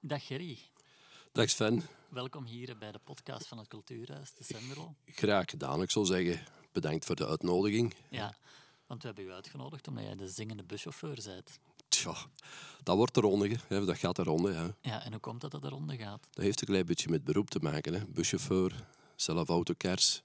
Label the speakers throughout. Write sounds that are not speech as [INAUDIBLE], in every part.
Speaker 1: Dag Gerry,
Speaker 2: Dag Sven,
Speaker 1: welkom hier bij de podcast van het Cultuurhuis te Senderlo.
Speaker 2: graag gedaan. Ik zou zeggen, bedankt voor de uitnodiging.
Speaker 1: Ja, want we hebben u uitgenodigd omdat jij de zingende buschauffeur bent.
Speaker 2: Tja, dat wordt de ronde, hè. dat gaat de ronde. Hè.
Speaker 1: Ja, en hoe komt dat dat de ronde gaat?
Speaker 2: Dat heeft een klein beetje met beroep te maken. Hè. Buschauffeur, zelf autokers.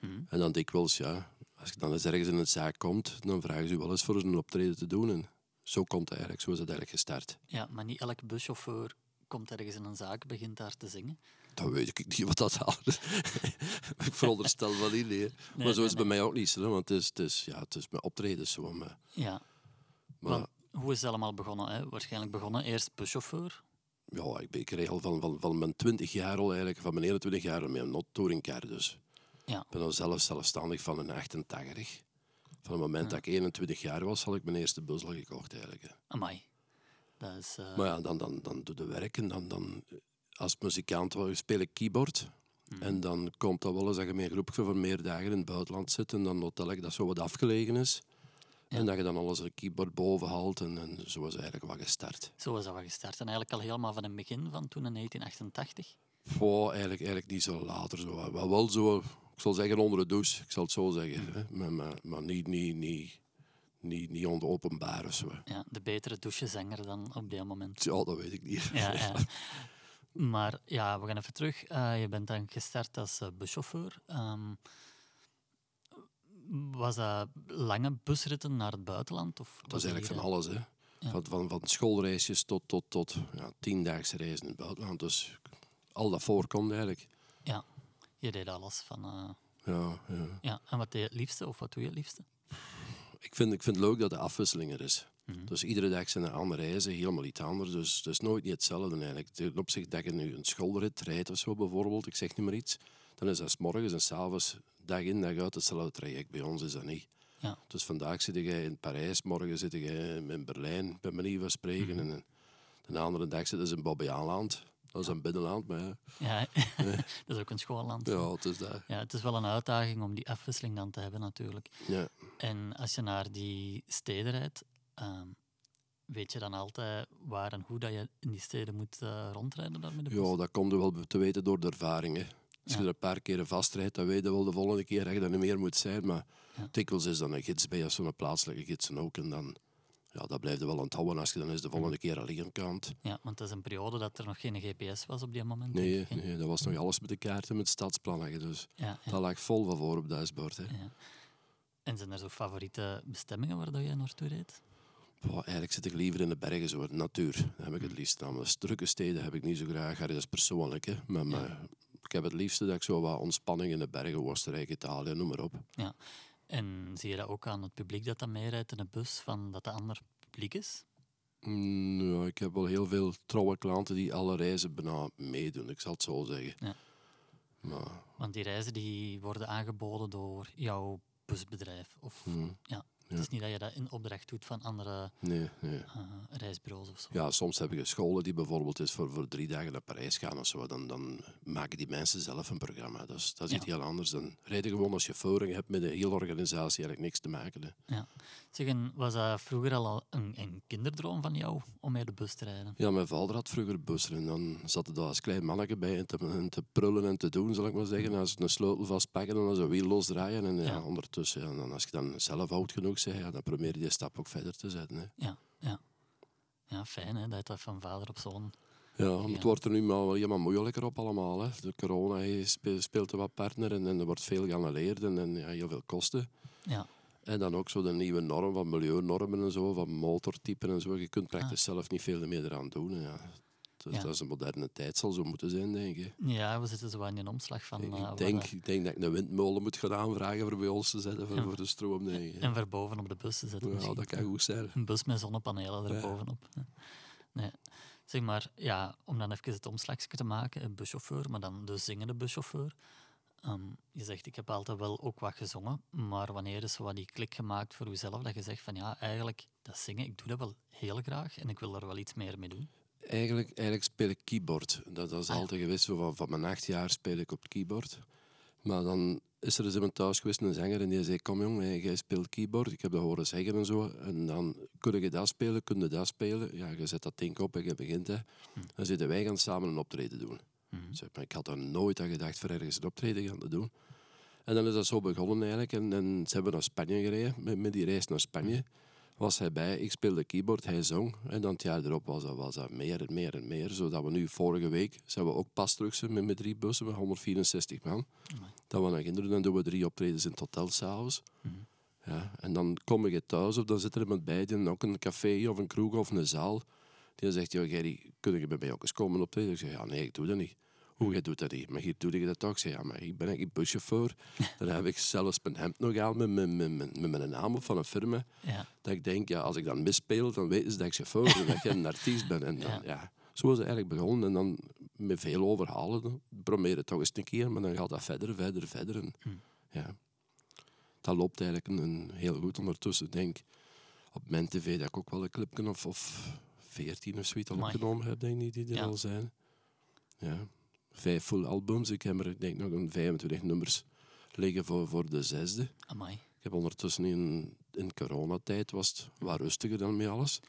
Speaker 1: Mhm.
Speaker 2: En dan dikwijls, ja, als je dan eens ergens in een zaak komt, dan vragen ze je wel eens voor een optreden te doen. En zo komt het eigenlijk, zo is het eigenlijk gestart.
Speaker 1: Ja, maar niet elke buschauffeur komt ergens in een zaak, begint daar te zingen.
Speaker 2: Dan weet ik niet wat dat houdt. [LAUGHS] ik veronderstel wel niet, nee. Maar
Speaker 1: nee,
Speaker 2: zo is het bij mij ook niet, hè, want het is, het is, ja, het is mijn optreden zo. Maar,
Speaker 1: Ja,
Speaker 2: maar
Speaker 1: want hoe is het allemaal begonnen? Hè? Waarschijnlijk begonnen eerst buschauffeur.
Speaker 2: Ja, ik, ben- ik reed al van, van, van mijn 20 jaar al eigenlijk, van mijn 21 jaar al met een not- touringcar dus.
Speaker 1: Ja,
Speaker 2: Ik ben al zelf zelfstandig van een 88. Van het moment dat ik 21 jaar was, had ik mijn eerste bus al gekocht eigenlijk. hè.
Speaker 1: amai. Dat is... eh,
Speaker 2: Maar ja, dan, dan, dan doe je werk en dan, dan eh, als muzikant wel, speel ik keyboard. En dan komt dat wel eens dat je met een groepje van meer dagen in het buitenland zit en dan hotel ik dat zo wat afgelegen is. En dat je dan alles een keyboard boven haalt en, en zo is eigenlijk wat gestart.
Speaker 1: Zo is dat wel gestart. En eigenlijk al helemaal van het begin van toen in 1988.
Speaker 2: Goh, eigenlijk, eigenlijk niet zo later. Zo. Wel, wel zo, ik zal zeggen onder de douche, ik zal het zo zeggen. Hè. Maar, maar, maar niet, niet, niet, niet, niet onder openbaar of zo.
Speaker 1: Ja, de betere douchezanger dan op dat moment.
Speaker 2: Ja, dat weet ik niet. [LAUGHS]
Speaker 1: Ja, ja. Maar ja, we gaan even terug. Eh, je bent dan gestart als eh, buschauffeur. Ehm, was dat lange busritten naar het buitenland? Of
Speaker 2: Dat is eigenlijk van alles. Hè. Van, van, van schoolreisjes tot, tot, tot ja, tiendaagse reizen in het buitenland. Dus al dat voorkomt eigenlijk.
Speaker 1: eh, Ja, je deed alles van... eh,
Speaker 2: Ja, ja.
Speaker 1: ja. En wat deed je het liefste? Of wat doe je het liefste?
Speaker 2: Ik, vind, ik vind het leuk dat de afwisseling er is. Dus iedere dag zijn er andere reizen, helemaal iets anders. Dus het is nooit niet hetzelfde eigenlijk. Ten opzichte dat je nu een schoolrit rijdt of zo bijvoorbeeld, ik zeg niet meer iets, dan is dat 's morgens en s'avonds dag in dag uit hetzelfde traject. Bij ons is dat niet.
Speaker 1: Ja.
Speaker 2: Dus vandaag zit jij in Parijs, morgen zit jij in Berlijn, bij manier van spreken. En de andere dag zitten ze in Bobbejaanland. Dat is een binnenland, maar ja,
Speaker 1: Ja, [LAUGHS] dat is ook een schoolland.
Speaker 2: ja het is dat.
Speaker 1: Ja, het is wel een uitdaging om die afwisseling dan te hebben natuurlijk.
Speaker 2: Ja.
Speaker 1: En als je naar die steden rijdt, ehm, weet je dan altijd waar en hoe dat je in die steden moet eh, rondrijden daar met de bus?
Speaker 2: Ja, dat komt er wel te weten door de ervaring. Hè. Als je er een paar keren vastrijdt, dan weet je wel de volgende keer dat je er niet meer moet zijn. Maar dikwijls is dan een gids bij, of zo'n plaatselijke gids en ook. En dan, ja, dat blijft er wel aan het houden als je dan eens de volgende keer alleen aan kant.
Speaker 1: Ja, want dat is een periode dat er nog geen GPS was op die moment. denk
Speaker 2: Nee,
Speaker 1: ik, hè?
Speaker 2: nee, dat was nog alles met de kaarten, met stadsplannen. Dus
Speaker 1: Ja, ja.
Speaker 2: dat lag vol van voor op het dashboard. Hè.
Speaker 1: En zijn er zo favoriete bestemmingen waar dat jij naartoe reed?
Speaker 2: Goh, eigenlijk zit ik liever in de bergen, zo, de natuur. Dat heb ik het liefst. Namens drukke steden heb ik niet zo graag. Ja, Dat is persoonlijk, hè. Maar, maar ik heb het liefste dat ik zo wat ontspanning in de bergen, Oostenrijk, Italië, noem maar op.
Speaker 1: Ja. En zie je dat ook aan het publiek dat dat meerijdt in de bus, van dat de ander publiek is?
Speaker 2: Mm, ja, ik heb wel heel veel trouwe klanten die alle reizen bijna meedoen, ik zal het zo zeggen.
Speaker 1: Ja.
Speaker 2: Maar
Speaker 1: Want die reizen die worden aangeboden door jouw busbedrijf. Of, ja. Het is niet dat je dat in opdracht doet van andere
Speaker 2: mm, nee, nee.
Speaker 1: eh, reisbureaus of zo.
Speaker 2: Ja, soms heb je scholen die bijvoorbeeld eens voor, voor drie dagen naar Parijs gaan of zo. Dan, dan maken die mensen zelf een programma. Dus dat is iets heel anders. Dan rijden gewoon als chauffeur en je hebt met de hele organisatie eigenlijk niks te maken. Hè.
Speaker 1: Ja. Zeg, en was dat vroeger al een, een kinderdroom van jou om mee de bus te rijden?
Speaker 2: Ja, mijn vader had vroeger bussen en dan zat hij daar als klein manneke bij en te, en te prullen en te doen, zal ik maar zeggen. Als ze een sleutel vastpakken en dan zo wiel losdraaien. En Mm. ja,
Speaker 1: Ja.
Speaker 2: ondertussen, ja, dan, als je dan zelf oud genoeg bent, ja, dan probeer je die stap ook verder te zetten. Hè.
Speaker 1: Ja, ja. Ja, fijn hè, dat dat van vader op zoon.
Speaker 2: Ja, maar het wordt er nu maar wel helemaal moeilijker op allemaal. Hè. De corona hij spe- speelt een wat partner en, en er wordt veel geannuleerd en, en ja, heel veel kosten.
Speaker 1: Ja,
Speaker 2: En dan ook zo de nieuwe norm van milieunormen en zo, van motortypen en zo. Je kunt praktisch zelf niet veel meer eraan doen. hè, Ah. Ja. Dat,
Speaker 1: Ja.
Speaker 2: dat is een moderne tijd, zal zo moeten zijn, denk ik.
Speaker 1: ja we zitten zo aan die omslag van... eh,
Speaker 2: Ik
Speaker 1: wat,
Speaker 2: denk,
Speaker 1: eh,
Speaker 2: ik denk dat ik een windmolen moet gaan aanvragen voor bij ons te zetten voor, voor de stroom. Nee. hè.
Speaker 1: en verboven op de bus te zetten
Speaker 2: Ja,
Speaker 1: misschien.
Speaker 2: dat kan goed zijn.
Speaker 1: Een bus met zonnepanelen erbovenop. hè. Nee. Zeg maar, ja, om dan even het omslagje te maken, een buschauffeur, maar dan de zingende buschauffeur. Ehm, je zegt, ik heb altijd wel ook wat gezongen, maar wanneer is zo wat die klik gemaakt voor jezelf, dat je zegt van ja, eigenlijk, dat zingen, ik doe dat wel heel graag en ik wil er wel iets meer mee doen.
Speaker 2: Eigenlijk, eigenlijk speel ik keyboard. Dat, dat is altijd geweest. Zo Van, van mijn acht jaar speel ik op het keyboard. Maar dan is er eens iemand thuis geweest, een zanger, en die zei, kom jong, jij speelt keyboard, ik heb dat horen zeggen en zo. En dan, kun je dat spelen, kun je dat spelen? Ja, je zet dat ding op en je begint. Hè. Dan zitten wij gaan samen een optreden doen. Ik zeg, maar ik had er nooit aan gedacht voor ergens een optreden gaan te doen. En dan is dat zo begonnen eigenlijk. En, en ze hebben naar Spanje gereden. Met, met die reis naar Spanje was hij bij. Ik speelde keyboard, hij zong. En dan het jaar erop was dat, was dat meer en meer en meer. Zodat we nu vorige week zijn we ook pas terug zijn met, met drie bussen, met 164 man. Dat we naar kinderen, dan doen we drie optredens in het hotel s'avonds. Ja, en dan kom ik thuis of dan zit er iemand bij die ook een café of een kroeg of een zaal. Die zegt, joh Gerry, kun je bij mij ook eens komen optreden? Ik zeg, ja nee, ik doe dat niet. Hoe, jij doet dat niet? Maar hier doe ik dat toch? Ik zeg, ja, maar ik ben eigenlijk buschauffeur. [LAUGHS] Dan heb ik zelfs mijn hemd nog aan met, met, met, met, met mijn naam op van een firma.
Speaker 1: Ja.
Speaker 2: Dat ik denk, ja, als ik dan misspeel, dan weten ze dat ik chauffeur ben, dat ik een artiest ben. En dan,
Speaker 1: Ja.
Speaker 2: ja. Zo is het eigenlijk begonnen. En dan met veel overhalen, dan probeer het toch eens een keer, maar dan gaat dat verder, verder, verder. En,
Speaker 1: Hmm.
Speaker 2: ja. Dat loopt eigenlijk een, een heel goed ondertussen. Ik denk, op mijn tv dat ik ook wel een clipje of, of 14 of zoiets al
Speaker 1: Amai.
Speaker 2: opgenomen heb, denk ik, die er
Speaker 1: Ja.
Speaker 2: al zijn. Ja. Vijf full albums. Ik heb er ik denk nog een 25 nummers liggen voor, voor de zesde.
Speaker 1: Amai.
Speaker 2: Ik heb ondertussen in, in coronatijd was het wat rustiger dan met alles.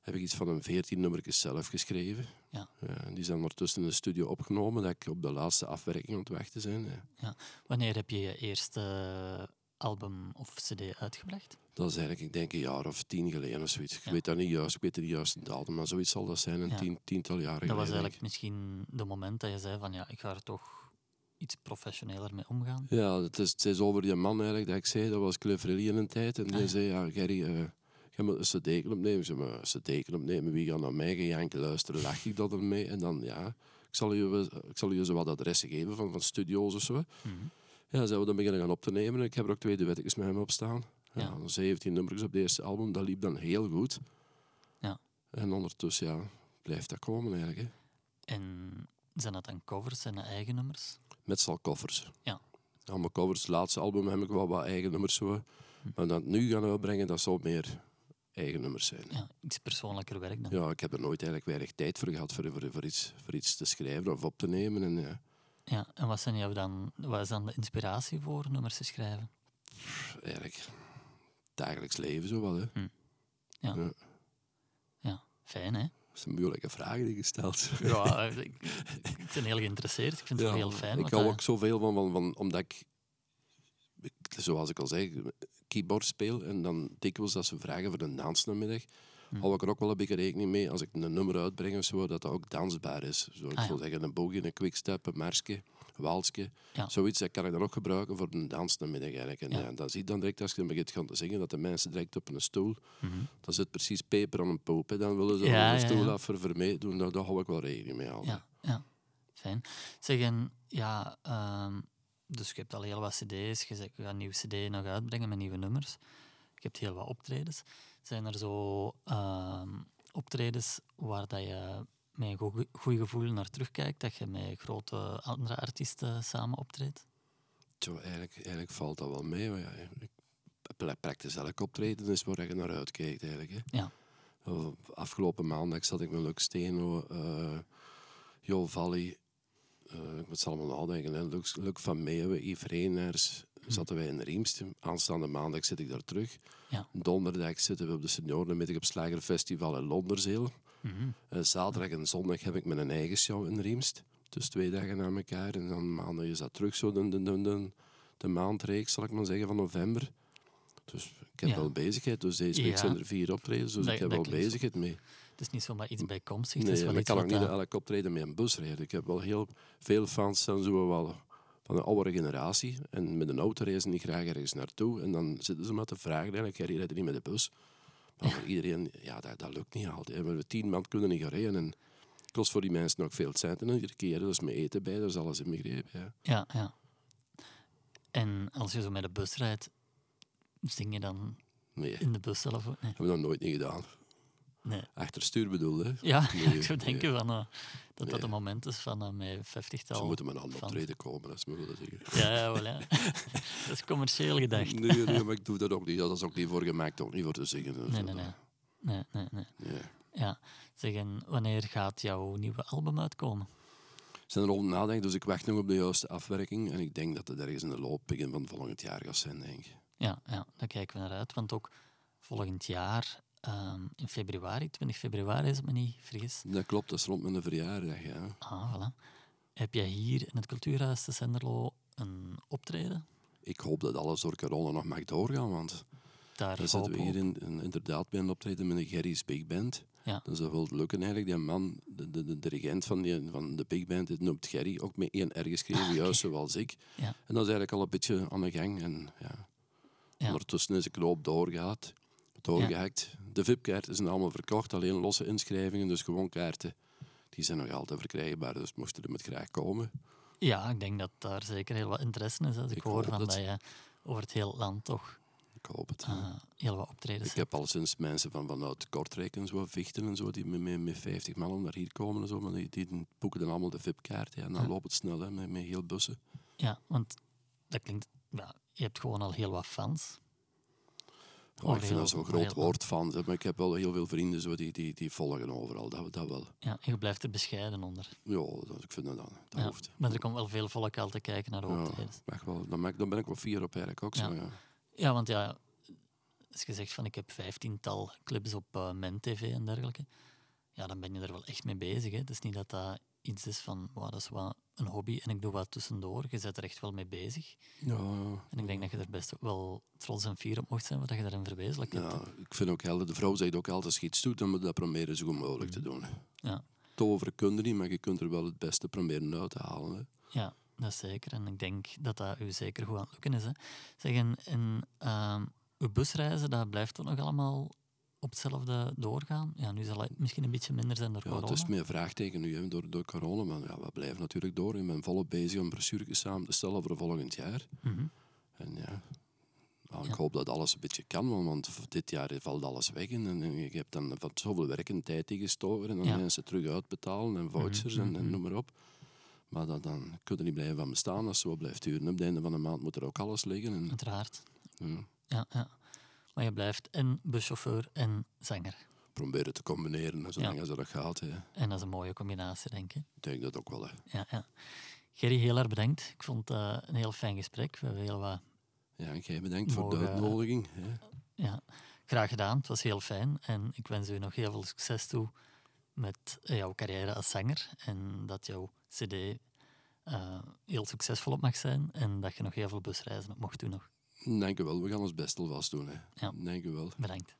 Speaker 2: Heb ik iets van een 14 nummertjes zelf geschreven.
Speaker 1: Ja.
Speaker 2: en die zijn ondertussen in de studio opgenomen, dat ik op de laatste afwerking aan het weg te zijn. Ja.
Speaker 1: Wanneer heb je je eerste album of cd uitgebracht?
Speaker 2: Dat is eigenlijk, ik denk, een jaar of tien geleden of zoiets. Ik
Speaker 1: Ja.
Speaker 2: weet dat niet juist, ik weet de juiste datum, maar zoiets zal dat zijn, een
Speaker 1: Ja.
Speaker 2: tien, tiental jaren
Speaker 1: Dat was
Speaker 2: geleden, denk
Speaker 1: eigenlijk misschien de moment dat je zei van ja, ik ga er toch iets professioneler mee omgaan.
Speaker 2: ik. Ja, het is, het is over die man eigenlijk dat ik zei, dat was Cliff Rilly in een tijd. En die
Speaker 1: Ah, ja.
Speaker 2: zei, ja, Gerry, eh je moet een cd opnemen. Ik zei, maar een cd opnemen, wie gaat naar mij? Ga je enkel luisteren, leg ik dat ermee? En dan, ja, ik zal je, wel- ik zal je zo wat adressen geven van, van studio's of zo.
Speaker 1: Mhm.
Speaker 2: Ja, zijn we dan beginnen gaan op te nemen. Ik heb er ook twee duetjes met hem op staan. Ja.
Speaker 1: Ja.
Speaker 2: 17 nummers op het eerste album, dat liep dan heel goed.
Speaker 1: Ja.
Speaker 2: En ondertussen, ja, blijft dat komen eigenlijk. Hè.
Speaker 1: En zijn dat dan covers, zijn dat eigen nummers?
Speaker 2: Met zal covers.
Speaker 1: Ja.
Speaker 2: Allemaal covers. Het laatste album heb ik wel wat eigen nummers. Zo. Maar dat nu gaan uitbrengen, dat zal meer eigen nummers zijn.
Speaker 1: Ja, iets persoonlijker werk dan.
Speaker 2: Ja, ik heb er nooit eigenlijk weinig tijd voor gehad voor, voor, voor, iets, voor iets te schrijven of op te nemen. En, ja.
Speaker 1: Ja, en wat, zijn jou dan, wat is dan de inspiratie voor nummers te schrijven?
Speaker 2: eigenlijk dagelijks leven zo wel. Hè.
Speaker 1: Ja, fijn hè?
Speaker 2: Dat is een moeilijke vraag die je stelt.
Speaker 1: Ja, ik, ik- ik ben heel geïnteresseerd. Ik vind het heel fijn.
Speaker 2: Ik
Speaker 1: want
Speaker 2: hou
Speaker 1: dat-
Speaker 2: ook zoveel van, van, van omdat ik, ik, zoals ik al zei, keyboard speel en dan dikwijls dat ze vragen voor een dansnamiddag,
Speaker 1: Hm.
Speaker 2: hou ik er ook wel een beetje rekening mee als ik een nummer uitbreng of zo, dat dat ook dansbaar is. Zo, ik
Speaker 1: Ah, ja.
Speaker 2: zou zeggen, een boogie, een quickstep, een marsje, een walsje,
Speaker 1: Ja.
Speaker 2: zoiets, dat kan ik dan ook gebruiken voor een dansnamiddag eigenlijk. En
Speaker 1: Ja.
Speaker 2: ja. dan zie je dan direct, als je dan begint gaan te zingen, dat de mensen direct op een stoel,
Speaker 1: Mhm.
Speaker 2: dan zit precies peper aan een poop, hè. dan willen ze
Speaker 1: Ja,
Speaker 2: van
Speaker 1: ja,
Speaker 2: de stoel
Speaker 1: ja.
Speaker 2: af voor, voor mee doen, daar, daar hou ik wel rekening mee. altijd.
Speaker 1: Ja, ja, fijn. Zeg, en ja, ehm, dus je hebt al heel wat cd's, je zegt, je gaat een nieuwe cd nog uitbrengen met nieuwe nummers. Je hebt heel wat optredens. Zijn er zo ehm, optredens waar dat je met een goe- goed gevoel naar terugkijkt, dat je met grote andere artiesten samen optreedt?
Speaker 2: Zo, eigenlijk, eigenlijk valt dat wel mee. Maar ja, ik- pra- praktisch elk optreden is waar je naar uitkijkt. Eigenlijk, hè.
Speaker 1: Ja.
Speaker 2: Uh, Afgelopen maandag zat ik met Lux Steno, eh, Jo Valley, eh, ik moet het allemaal nadenken, hè. Lux, Luc van Meeuwen, Yves Reenaers,
Speaker 1: Hm.
Speaker 2: zaten wij in Riemst. Aanstaande maandag zit ik daar terug.
Speaker 1: Ja.
Speaker 2: Donderdag zitten we op de seniorenmiddag op Slagerfestival in Londerzeel. Eh, zaterdag en zondag heb ik mijn eigen show in Riemst. Dus twee dagen na elkaar. En dan maandag is dat terug zo. De, de, de, de, de maandreeks, zal ik maar zeggen, van november. Dus ik heb
Speaker 1: Ja.
Speaker 2: wel bezigheid. Dus deze week
Speaker 1: Ja.
Speaker 2: zijn er vier optredens. Dus
Speaker 1: Dat-
Speaker 2: ik heb
Speaker 1: dat
Speaker 2: wel
Speaker 1: klinkt zo.
Speaker 2: bezigheid mee.
Speaker 1: Het is niet zomaar iets bijkomstig. het
Speaker 2: Nee,
Speaker 1: is wel
Speaker 2: maar ik
Speaker 1: iets
Speaker 2: kan ook
Speaker 1: wat
Speaker 2: niet
Speaker 1: dat-
Speaker 2: naar elk optreden met een bus rijden. Ik heb wel heel veel fans zijn zo wel van de oudere generatie. En met een auto reizen die graag ergens naartoe. En dan zitten ze maar te vragen eigenlijk, jij rijdt niet met de bus. Maar voor iedereen, ja, dat, dat lukt niet altijd. hè. We tien man kunnen niet gaan rijden. En het kost voor die mensen ook veel centen iedere keer. Er is met eten bij, er is alles in begrepen. Ja.
Speaker 1: Ja, ja. En als je zo met de bus rijdt, zing je dan
Speaker 2: Nee, dat
Speaker 1: in de bus zelf ook? Nee.
Speaker 2: hebben we nog nooit niet gedaan.
Speaker 1: nee.
Speaker 2: Achter stuur bedoelde.
Speaker 1: [LAUGHS] Ja,
Speaker 2: Nee,
Speaker 1: ik zou
Speaker 2: nee.
Speaker 1: denken van, eh, dat dat
Speaker 2: Nee.
Speaker 1: een moment is van eh mijn vijftigtal.
Speaker 2: Ze moeten maar aan het
Speaker 1: van-
Speaker 2: optreden komen, dat is me willen zeggen.
Speaker 1: Ja, ja, voilà. [LAUGHS] dat is commercieel gedacht.
Speaker 2: Nee, nee, maar ik doe dat ook niet. Dat is ook niet voor gemaakt, ook niet voor te zingen. Dus
Speaker 1: Nee,
Speaker 2: dat-
Speaker 1: nee, nee. Nee, nee, nee.
Speaker 2: Ja.
Speaker 1: Ja. Zeg, en wanneer gaat jouw nieuwe album uitkomen?
Speaker 2: zijn er al nadenken, dus ik wacht nog op de juiste afwerking. En ik denk dat het ergens in de loop begin van volgend jaar gaat zijn, denk ik.
Speaker 1: Ja, ja, daar kijken we naar uit. Want ook volgend jaar, ehm, in februari, 20 februari is het me niet vergis.
Speaker 2: Dat klopt, dat is rond mijn verjaardag, ja.
Speaker 1: Ah, voilà. Heb jij hier in het cultuurhuis te Senderlo een optreden?
Speaker 2: Ik hoop dat alles door corona nog mag doorgaan, want
Speaker 1: Daar
Speaker 2: dan
Speaker 1: hopen
Speaker 2: zitten we
Speaker 1: we
Speaker 2: hier
Speaker 1: op.
Speaker 2: in, in- inderdaad bij een optreden met de Gerry's Big Band.
Speaker 1: Ja.
Speaker 2: Dus dat wil lukken eigenlijk. Die man, de, de, de dirigent van, die, van de Big Band, dit noemt Gerry, ook met één R geschreven, juist zoals ik.
Speaker 1: Ah, Ja.
Speaker 2: En dat is eigenlijk al een beetje aan de gang. En, ja.
Speaker 1: Ja.
Speaker 2: Ondertussen is de knoop doorgehaald, doorgehakt. De VIP-kaarten zijn allemaal verkocht, alleen losse inschrijvingen, dus gewoon kaarten. Die zijn nog altijd verkrijgbaar, dus moesten er met graag komen.
Speaker 1: Ja, ik denk dat daar zeker heel wat interesse is. Als ik,
Speaker 2: Ik
Speaker 1: hoor
Speaker 2: hoop
Speaker 1: van
Speaker 2: het.
Speaker 1: dat je over het hele land toch
Speaker 2: Ik hoop het.
Speaker 1: eh, heel wat optredens
Speaker 2: Ik heb al sinds mensen van vanuit Kortrijk en zo, Vichten en zo, die met, met, met 50 man om naar hier komen en zo, maar die, die boeken dan allemaal de VIP-kaart. Ja, en dan
Speaker 1: Ja.
Speaker 2: loopt het snel, hè, met, met heel bussen.
Speaker 1: Ja, want dat klinkt... Ja, je hebt gewoon al heel wat fans.
Speaker 2: Oh, ik
Speaker 1: heel-
Speaker 2: vind dat zo'n
Speaker 1: over
Speaker 2: groot
Speaker 1: heel-
Speaker 2: woord van, zeg maar ik heb wel heel veel vrienden zo, die, die, die volgen overal, dat, dat wel.
Speaker 1: Ja, en je blijft er bescheiden onder.
Speaker 2: Ja, dat, ik vind dat, dat
Speaker 1: Ja,
Speaker 2: hoeft.
Speaker 1: Maar er komt wel veel volk al te kijken naar de
Speaker 2: Ja,
Speaker 1: optredens.
Speaker 2: mag wel, dan, maak- dan ben ik wel fier op eigenlijk ook zo,
Speaker 1: Ja.
Speaker 2: ja.
Speaker 1: Ja, want ja, als je zegt van ik heb vijftiental clips op eh MenTV en dergelijke, ja, dan ben je er wel echt mee bezig. Hè. Het is niet dat dat iets is van, wow, dat is wat een hobby en ik doe wat tussendoor. Je bent er echt wel mee bezig.
Speaker 2: Ja,
Speaker 1: En ik denk dat je er best wel trots en fier op mocht zijn wat je daarin verwezenlijkt hebt.
Speaker 2: ja, ik vind ook helder, de vrouw zegt ook altijd, als je iets doet, dan moet je dat proberen zo goed mogelijk te doen.
Speaker 1: Mhm. Ja.
Speaker 2: Toveren kun je niet, maar je kunt er wel het beste proberen uit te halen. Hè.
Speaker 1: Ja, dat is zeker. En ik denk dat dat u zeker goed aan het lukken is. Hè. Zeg, en, en ehm, uw busreizen, dat blijft toch nog allemaal op hetzelfde doorgaan? Ja, nu zal het misschien een beetje minder zijn door
Speaker 2: Ja,
Speaker 1: corona.
Speaker 2: het is meer vraagteken nu hè, door, door corona, maar ja, we blijven natuurlijk door. Ik ben volop bezig om brochures samen te stellen voor volgend jaar.
Speaker 1: Mhm.
Speaker 2: En ja, nou, ik
Speaker 1: Ja.
Speaker 2: hoop dat alles een beetje kan, want- want v- dit jaar valt alles weg. En, en je hebt dan van zoveel werk en tijd tegengestoken en dan
Speaker 1: Ja. Mhm,
Speaker 2: mensen terug uitbetalen en vouchers en, en noem maar op. Maar dat, dan kun je niet blijven van bestaan als het zo blijft duren. Op het einde van de maand moet er ook alles liggen. En,
Speaker 1: Uiteraard.
Speaker 2: ja,
Speaker 1: Ja, ja. Maar je blijft en buschauffeur en zanger.
Speaker 2: proberen te combineren, zolang als dat gaat. hè.
Speaker 1: En dat is een mooie combinatie, denk ik.
Speaker 2: Ik denk dat ook wel. hè.
Speaker 1: Ja, ja. Gerry, heel erg bedankt. Ik vond het een heel fijn gesprek. We hebben heel wat...
Speaker 2: Ja, en jij bedankt voor de
Speaker 1: Mogen-
Speaker 2: uitnodiging. hè.
Speaker 1: Ja, graag gedaan. Het was heel fijn. En ik wens u nog heel veel succes toe met eh, jouw carrière als zanger. En dat jouw cd eh, heel succesvol op mag zijn. En dat je nog heel veel busreizen op mocht doen nog.
Speaker 2: Dank u wel, we gaan ons best alvast doen. Hè.
Speaker 1: Ja.
Speaker 2: Dank u wel.
Speaker 1: Bedankt.